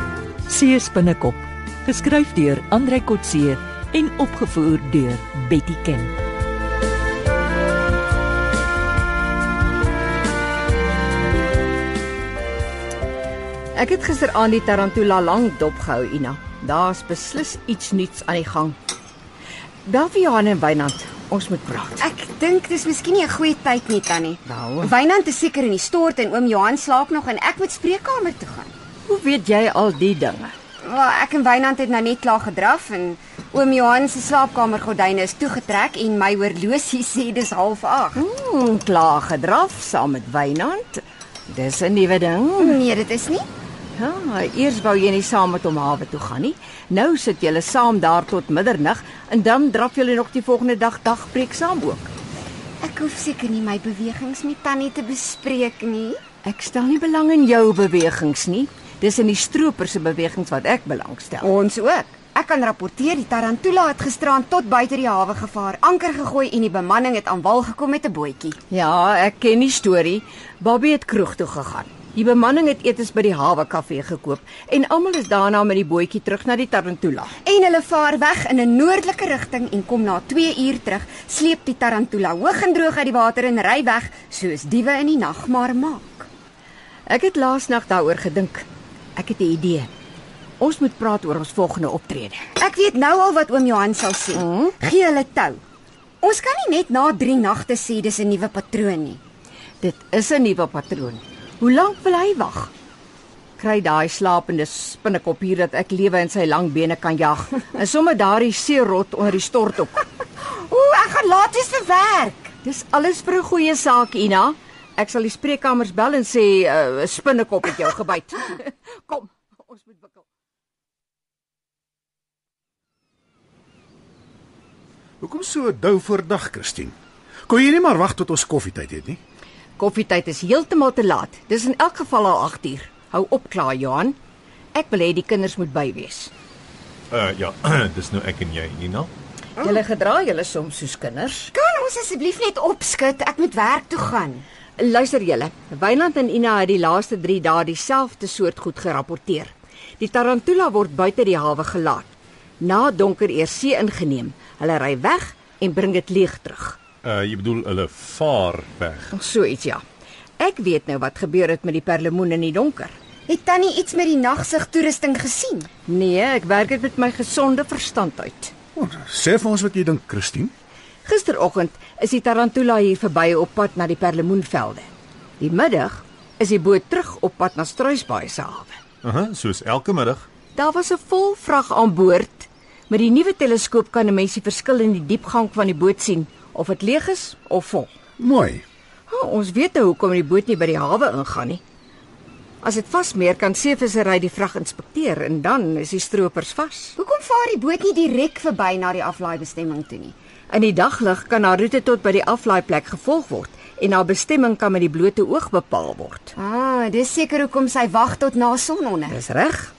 Kotse se binnekop, geskryf deur Andrei Kotse en opgevoer deur Betty Ken. Ek het gisteraand die Tarantula lank dopgehou, Ina. Daar's beslis iets nuuts aan die gang. Bel vir Johan en Wynand. Ons moet praat. Ek dink dis miskien nie 'n goeie tyd nie, Tannie. Nou. Wynand is seker in die stort en oom Johan slaap nog en ek moet spreekkamer toe gaan. Hoe weet jy al die dinge? Wel, ek en Wynand het nou net klaar gedraf en oom Johan se slaapkamergordyne is toegetrek en my horlosie sê dis 08:30. Hmm, klaar gedraf saam met Wynand. Dis 'n nuwe ding. Nee, dit is nie. Ja, eers wou jy nie saam met hom hawe toe gaan nie. Nou sit julle saam daar tot middernag en dan draf julle nog die volgende dag dagbreek saam ook. Ek hoef seker nie my bewegings met Tannie te bespreek nie. Ek stel nie belang in jou bewegings nie. Dis in die stroper se bewegings wat ek belangstel. Ons ook. Ek kan rapporteer die Tarantula het gisteraan tot buite die hawe gevaar, anker gegooi en die bemanning het aan wal gekom met 'n bootjie. Ja, ek ken die storie. Bobby het kroeg toe gegaan. Die bemanning het etes by die hawe kafee gekoop en almal is daarna met die bootjie terug na die Tarantula. En hulle vaar weg in 'n noordelike rigting en kom na 2 uur terug, sleep die tarantula hoog en droog uit die water en ry weg soos diewe in die nag maar maak. Ek het laasnag daaroor gedink. Ek het 'n idee. Ons moet praat oor ons volgende optrede. Ek weet nou al wat oom Johan sal sê. Mm? Gee hulle tou. Ons kan nie net na 3 nagte sê dis 'n nuwe patroon nie. Dit is 'n nuwe patroon. Hoe lank wil hy wag? Kry daai slapende spinnekop hier dat ek lewe in sy lang bene kan jag. En sommer daardie seerot onder die stort op. Ooh, ek gaan laat wees vir werk. Dis alles vir 'n goeie saak, Ina. Ek sal die spreekkamers bel en sê 'n uh, spinnekop het jou gebyt. Kom, ons moet wikkel. Hoekom so dou voor dag, Christine? Kon jy nie maar wag tot ons koffietyd het nie? Koffietyd is heeltemal te laat. Dis in elk geval al 8 uur. Hou op klaar, Johan. Ek wil hê die kinders moet by wees. Uh ja, dis nou ek en jy, Nina. Julle gedra julle soms soos kinders. Kan ons asseblief net opskud? Ek moet werk toe gaan. Luister julle, Wynand en Ina het die laaste 3 dae dieselfde soort goed gerapporteer. Die tarantula word buite die hawe gelaat. Na donker eers see ingeneem. Hulle ry weg en bring dit leeg terug. Uh jy bedoel hulle vaar weg. So iets ja. Ek weet nou wat gebeur het met die perlemoen in die donker. Het Tannie iets met die nagsig toerusting gesien? Nee, ek werk dit met my gesonde verstand uit. O, Sê vir ons wat jy dink, Christine. Gisteroggend is die tarantula hier verby op pad na die perlemoenvelde. Die middag is die boot terug op pad na Struisbaai se hawe. Aha, uh -huh, soos elke middag. Daar was 'n vol vrag aan boord. Met die nuwe teleskoop kan 'n mens die verskil in die diepgang van die boot sien of dit leeg is of vol. Mooi. Oh, ons weet nou hoekom die boot nie by die hawe ingaan nie. As dit vasmeer kan seevissery die vrag inspekteer en dan is die stroopers vas. Hoekom vaar die boot nie direk verby na die aflaaibestemming toe nie? In die daglig kan haar roete tot by die aflaaiplek gevolg word en haar bestemming kan met die blote oog bepaal word. Ah, dis seker hoekom sy wag tot na sononder. Dis reg.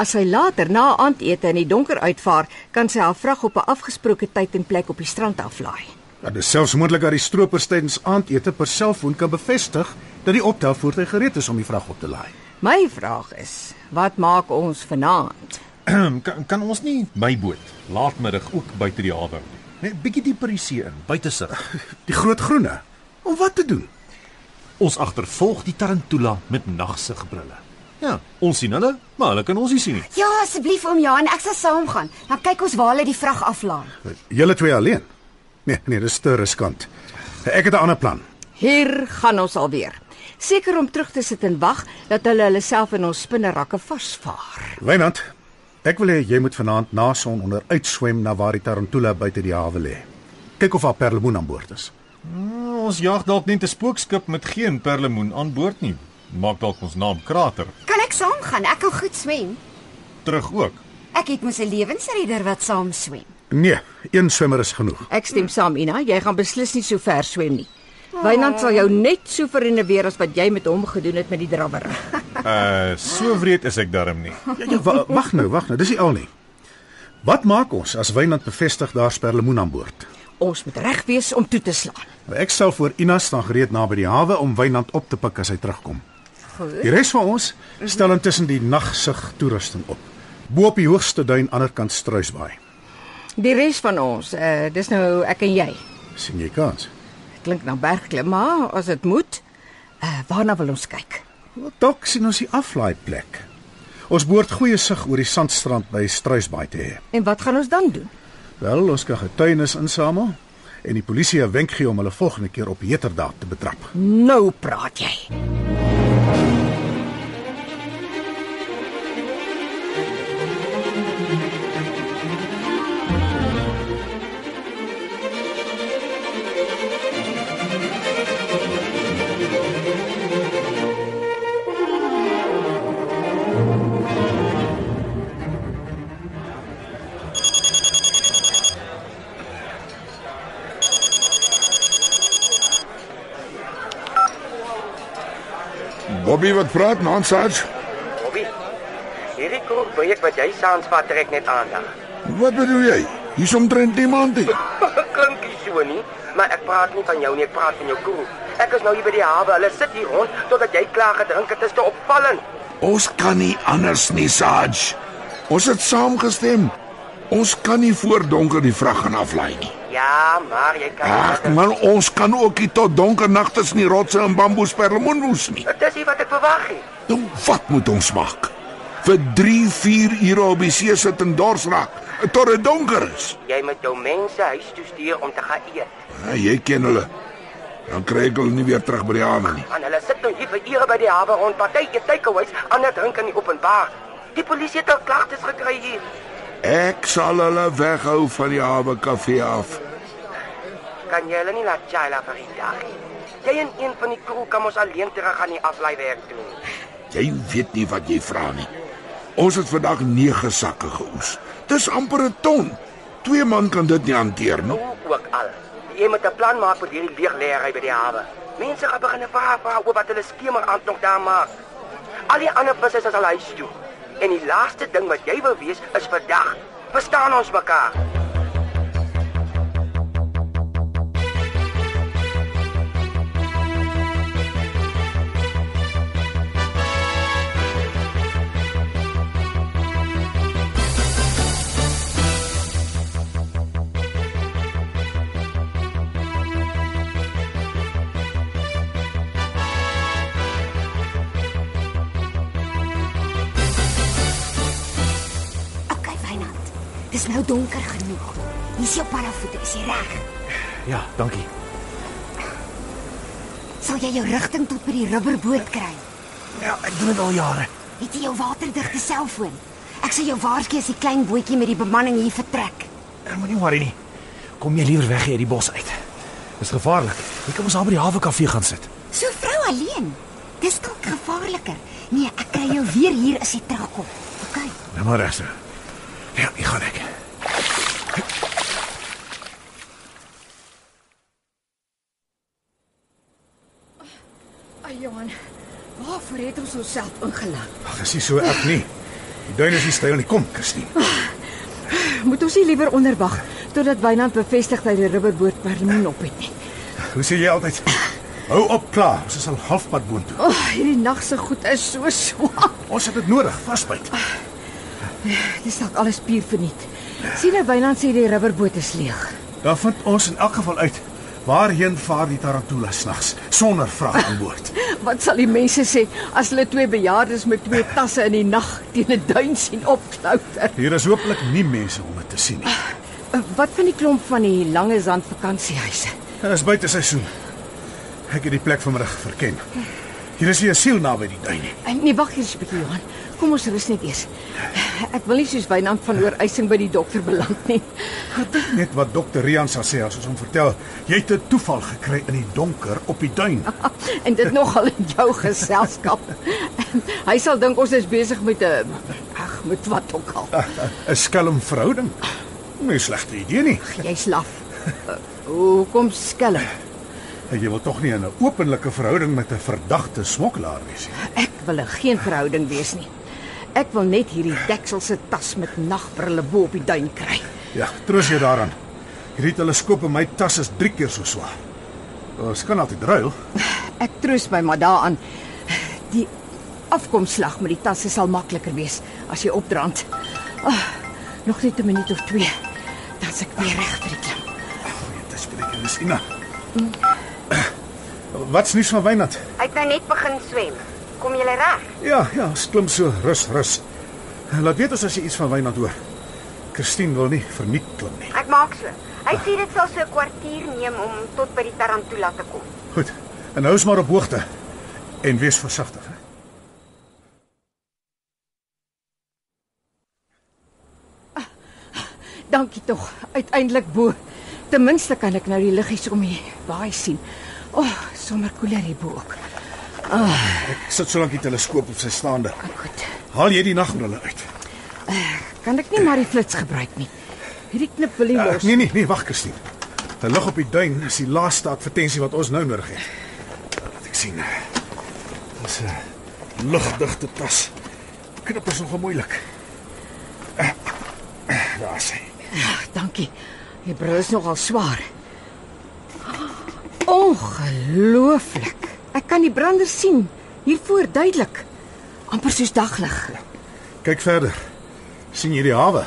As sy later na aandete in die donker uitvaar, kan sy haar vrag op 'n afgesproke tyd en plek op die strand aflaai. Dat is selfs moontlik dat die stroopers tydens aandete per selfoon kan bevestig dat die optelvoertuig gereed is om die vrag op te laai. My vraag is, wat maak ons vanaand? Ehm, kan, kan ons nie my boot laatmiddag ook buite die hawe hou nie? Nee, Net bietjie dieper die see in, buite sig. Die groot groene. Om wat te doen? Ons agtervolg die tarantula met nagsigbrille. Ja, ons sien hulle, maar hulle kan ons nie sien nie. Ja, asseblief oom Johan, ek sal saamgaan. Dan kyk ons waar hulle die vrag aflaai. Julle twee alleen. Nee, nee, dis te riskant. Ek het 'n ander plan. Hier gaan ons alweer. Seker om terug te sit en wag dat hulle hulle self in ons spinnerakke vasvaar. Wynand, ek wil hê jy moet vanaand na son onder uitswem na waar die tarantula buite die hawe lê. Kyk of haar perlemoen aan boord is. Ons jag dalk net 'n spookskip met geen perlemoen aan boord nie. Maak dalk ons naam krater. Kan ek saamgaan? Ek kan goed swem. Terug ook. Ek het mos 'n lewensredder wat saam swem. Nee, een swemmer is genoeg. Ek stem saam, Ina, jy gaan beslis nie so ver swem nie. Wynand sal jou net so verreneweer as wat jy met hom gedoen het met die drawwer. Uh so wreed is ek darm nie. Ja, ja, wa- wag nou, wag nou, dis nie al nie. Wat maak ons as Wynand bevestig daar's perlemoen aan boord? Nou, Ons moet reg wees om toe te slaan. Ek sal voor Ina staan gereed naby die hawe om Wynand op te pik as hy terugkom. Goed. Die res van ons stel intussen die nagsig toerusting op. Bo op die hoogste duin aanderkant Struisbaai. Die res van ons, uh, dis nou ek en jy. sien jy kans? Klink na bergklim, maar as dit moet, uh, waarna wil ons kyk? Wat dalk sien ons die aflaai plek. Ons behoort goeie sig oor die sandstrand by Struisbaai te hê. En wat gaan ons dan doen? Wel, ons kan getuienis insamel en die polisie 'n wenk gee om hulle volgende keer op heterdaad te betrap. Nou praat jy. Bobby wat praat nonsens? Bobby. Hierdie kroeg projek wat jy saans vat trek net aandag. Wat bedoel jy? Hier's omtrent niemand nie. Klinkie so nie, maar ek praat nie van jou nie, ek praat van jou kroeg. Ek is nou hier by die hawe. Hulle sit hier rond totdat jy klaar gedrink het. Dit is te opvallend. Ons kan nie anders nie, Sarge. Ons het saamgestem. Ons kan nie voor donker die vrag gaan aflaai nie. Ja, maar jy kan Ag man, ons kan ook nie tot donker nagte in die rotse en bamboes perlemoen woes nie. Dit is nie wat ek verwag het. Nou wat moet ons maak? Vir 3, 4 ure op die see sit en dors raak tot dit donker is. Jy moet jou mense huis toe stuur om te gaan eet. Ja, jy ken hulle. Dan kry ek hulle nie weer terug by die hawe nie. Want hulle sit nou hier vir ure by die hawe rond party eet takeaways, ander drink in die openbaar. Die polisie het al klagtes gekry hier. Ek sal hulle weghou van die hawe kafee af. Kan jy hulle nie laat Chila vir die dag nie? Jy en een van die kroeg kan ons alleen terug aan die aflaai werk doen. Jy weet nie wat jy vra nie. Ons het vandag 9 sakke geoes. Dis amper 'n ton. Twee man kan dit nie hanteer nie. Hoe ook al. Jy moet 'n plan maak vir hierdie leegleery by die hawe. Mense gaan begin vra vra oor wat hulle skemer aan nog daar maak. Al die ander vissers is al huis toe. En die laaste ding wat jy wil weet is vandag. Verstaan ons mekaar? OK, Wynand. Dis nou donker genoeg. Hier's jou parafoot, is jy reg? Ja, dankie. Sal jy jou rigting tot by die rubberboot kry? Ja, ek doen dit al jare. Het jy jou waterdigte selfoon? Ek sal jou waarsku as die klein bootjie met die bemanning hier vertrek. Ek Eh, moenie worry nie. Kom jy liewer weg hier uit die bos uit. Dis gevaarlik. Jy kan ons daar by die hawe kafee gaan sit. So vrou alleen. Dis dalk gevaarliker. Nee, ek kry jou weer hier as jy terugkom. OK. Nou maar regs. Ja, ek gaan ek. Ai Johan, waarvoor het ons onsself ingelaat? Ag, dis nie so erg nie. Die duin is nie styl nie. Kom, Christine. Moet ons nie liewer onderwag totdat Wynand bevestig dat die rubberboot permin op het nie. Hoe sê jy altyd? Hou op klaar. Ons is al halfpad boontoe. O, oh, hierdie nag se goed is so swaar. Ons het dit nodig, vasbyt. Dis dalk alles puur verniet. Sien nou Wynand sê die rubberboot is leeg. Dan vind ons in elk geval uit waarheen vaar die tarantula snags sonder vraag en woord. Wat sal die mense sê as hulle twee bejaardes met twee tasse in die nag teen 'n duin sien opklouter? Hier is hopelik nie mense om dit te sien nie. Eh, Wat van die klomp van die lange sand vakansiehuise? Dit is buite seisoen. Ek het die plek vanmiddag verken. Hier is nie 'n siel naby die duin nie. Eh, Nee, wag eers 'n bietjie, Johan. Kom ons rus net eers. Eh, Ek wil nie soos Wynand van oorwysing by die dokter beland nie. Net wat dokter Rian sal sê as ons hom vertel, jy het 'n toeval gekry in die donker op die duin. En dit nogal in jou geselskap. Hy sal dink ons is besig met 'n ag, met wat ook al. 'n Skelm verhouding. Nie 'n slegte idee nie. Jy's laf. Eh, Hoekom skelm? Jy wil tog nie in 'n openlike verhouding met 'n verdagte smokkelaar wees nie. Ek wil er in geen verhouding wees nie. Ek wil net hierdie deksel se tas met nagbrille bo op die duin kry. Ja, troos jou daaraan. Hierdie teleskoop in my tas is 3 keer so swaar. Ons kan altyd ruil. Ek troos my maar daaraan. Die afkomslag met die tasse sal makliker wees as jy opdraand. Ah, Oh, nog net 'n minuut of 2. Dan se ek weer reg vir die klim. Dis breek en Sina. Wat's nuus van Wynand? Hy het nou net begin swem. Kom jy reg? Ja, ja, ons klim so rus, rus. Laat weet ons as jy iets van Wynand hoor. Christine wil nie vir Nick klim nie. Ek maak so. Hy sê dit sal so 'n kwartier neem om tot by die Tarantula te kom. Goed. En hou ons maar op hoogte en wees versigtig. hè. Dankie tog. Uiteindelik bo. Ten minste kan ek nou die liggies om die baai sien. O, oh, sommer koeler hier bo ook. Sit so lank die teleskoop op sy staande. Ah, Goed. Haal jy die nagbrille uit? Kan ek nie maar die flits gebruik nie. Hierdie knip wil nie Uh, los. nee nee, nee, wag Christine. Die lig op die duin is die laaste advertensie wat ons nou nodig het. Laat ek sien. Dis 'n lugdigte tas. Knip is nogal moeilik. Eh, eh, Daar sê. Ag, Ah, dankie. Die bril is nogal swaar. Ongelooflik. Ek kan die brander sien hier voor duidelik. amper soos daglig. Kyk verder. sien jy die hawe?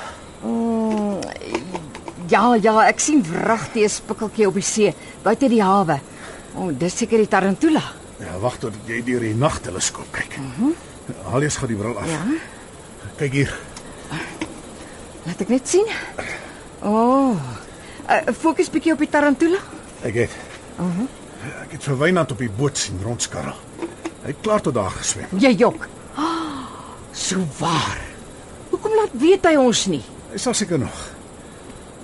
Ja, ja, ek sien wragtig 'n spikkeltjie op die see buite die hawe. O, oh, dis seker die tarantula. Ja, wag tot jy deur die nagteleskoop kyk. Mhm. Haal eers gou die bril af. Ja. Kyk hier. Laat ek net sien. O. Oh, uh, fokus bietjie op die tarantula. Ek het. Mhm. Ek het vir Wynand op die boot sien rondskarrel. Hy het klaar tot daar geswem. Jy jok. Oh, so waar. Hoekom laat weet hy ons nie? Hy sal seker nog.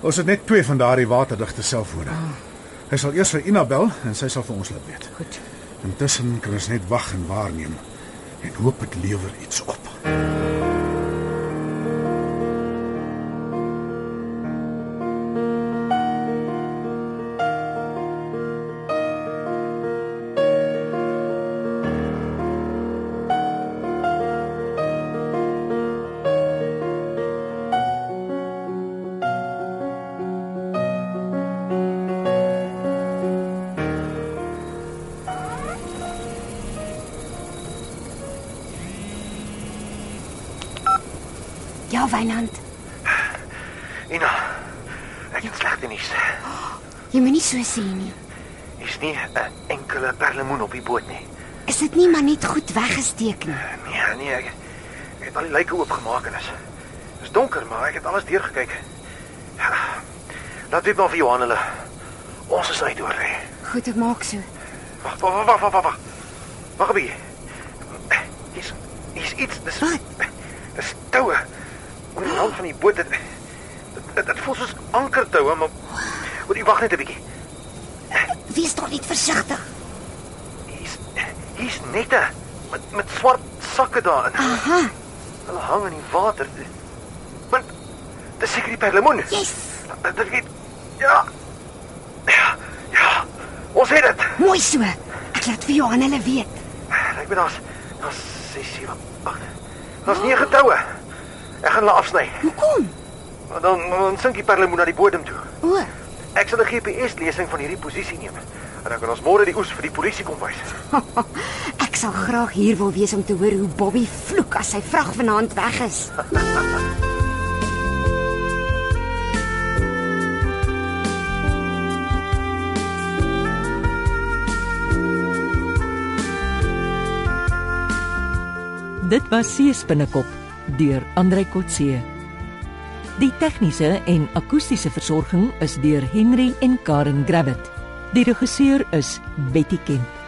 Ons het net twee van daardie waterdigte selfone. Hy sal eers vir Ina bel en sy sal vir ons laat weet. Goed. Intussen kan ons net wag en waarneem en hoop dit lewer iets op. Ja, Wynand, Ina, ek het slegte nuus. jy moenie so sê nie. Hier's nie 'n enkele perlemoen op die boot nie. Is dit nie maar net goed weggesteek nie? Nee, nee, ek, ek het al die lyke oopgemaak en is. Dit is donker, maar ek het alles deurgekyk. Ja, laat weet maar vir Johan hulle. Ons is uit hoor. hè. Goed, ek maak so. Wag, wag, wag, wag, wag, wag. Wag 'n bietjie. Dis is iets, dis Wat? Dis toue. Oor die rand van die boot dit dit- dit dit voel soos ankertoue, maar oor die wag net 'n bietjie. Wees tog net versigtig. Hier's hier's nette met met swart sakke daarin. Aha, Hulle hang in die water. Maar dis seker die perlemoen. Eh, yes. Dit dit weet. Ja. Ja. Ja. Ons het dit. Mooi so. Ek laat vir Johan hulle weet. Ek weet daar's daar's 6 7 8. Daar's 9 toue. Ek gaan hulle afsny. Hoekom? Want Dan dan sink die perlemoen na die bodem toe. O, Ek sal 'n GPS-lesing van hierdie posisie neem en dan kan ons môre die oes vir die polisie kom wys. ek sal graag hier wil wees om te hoor hoe Bobby vloek as sy vrag vanaand weg is. Dit was Seespinnekop deur Andrei Kotse. Die tegniese en akoestiese versorging is deur Henry en Karen Gravett. Die regisseur is Betty Kemp.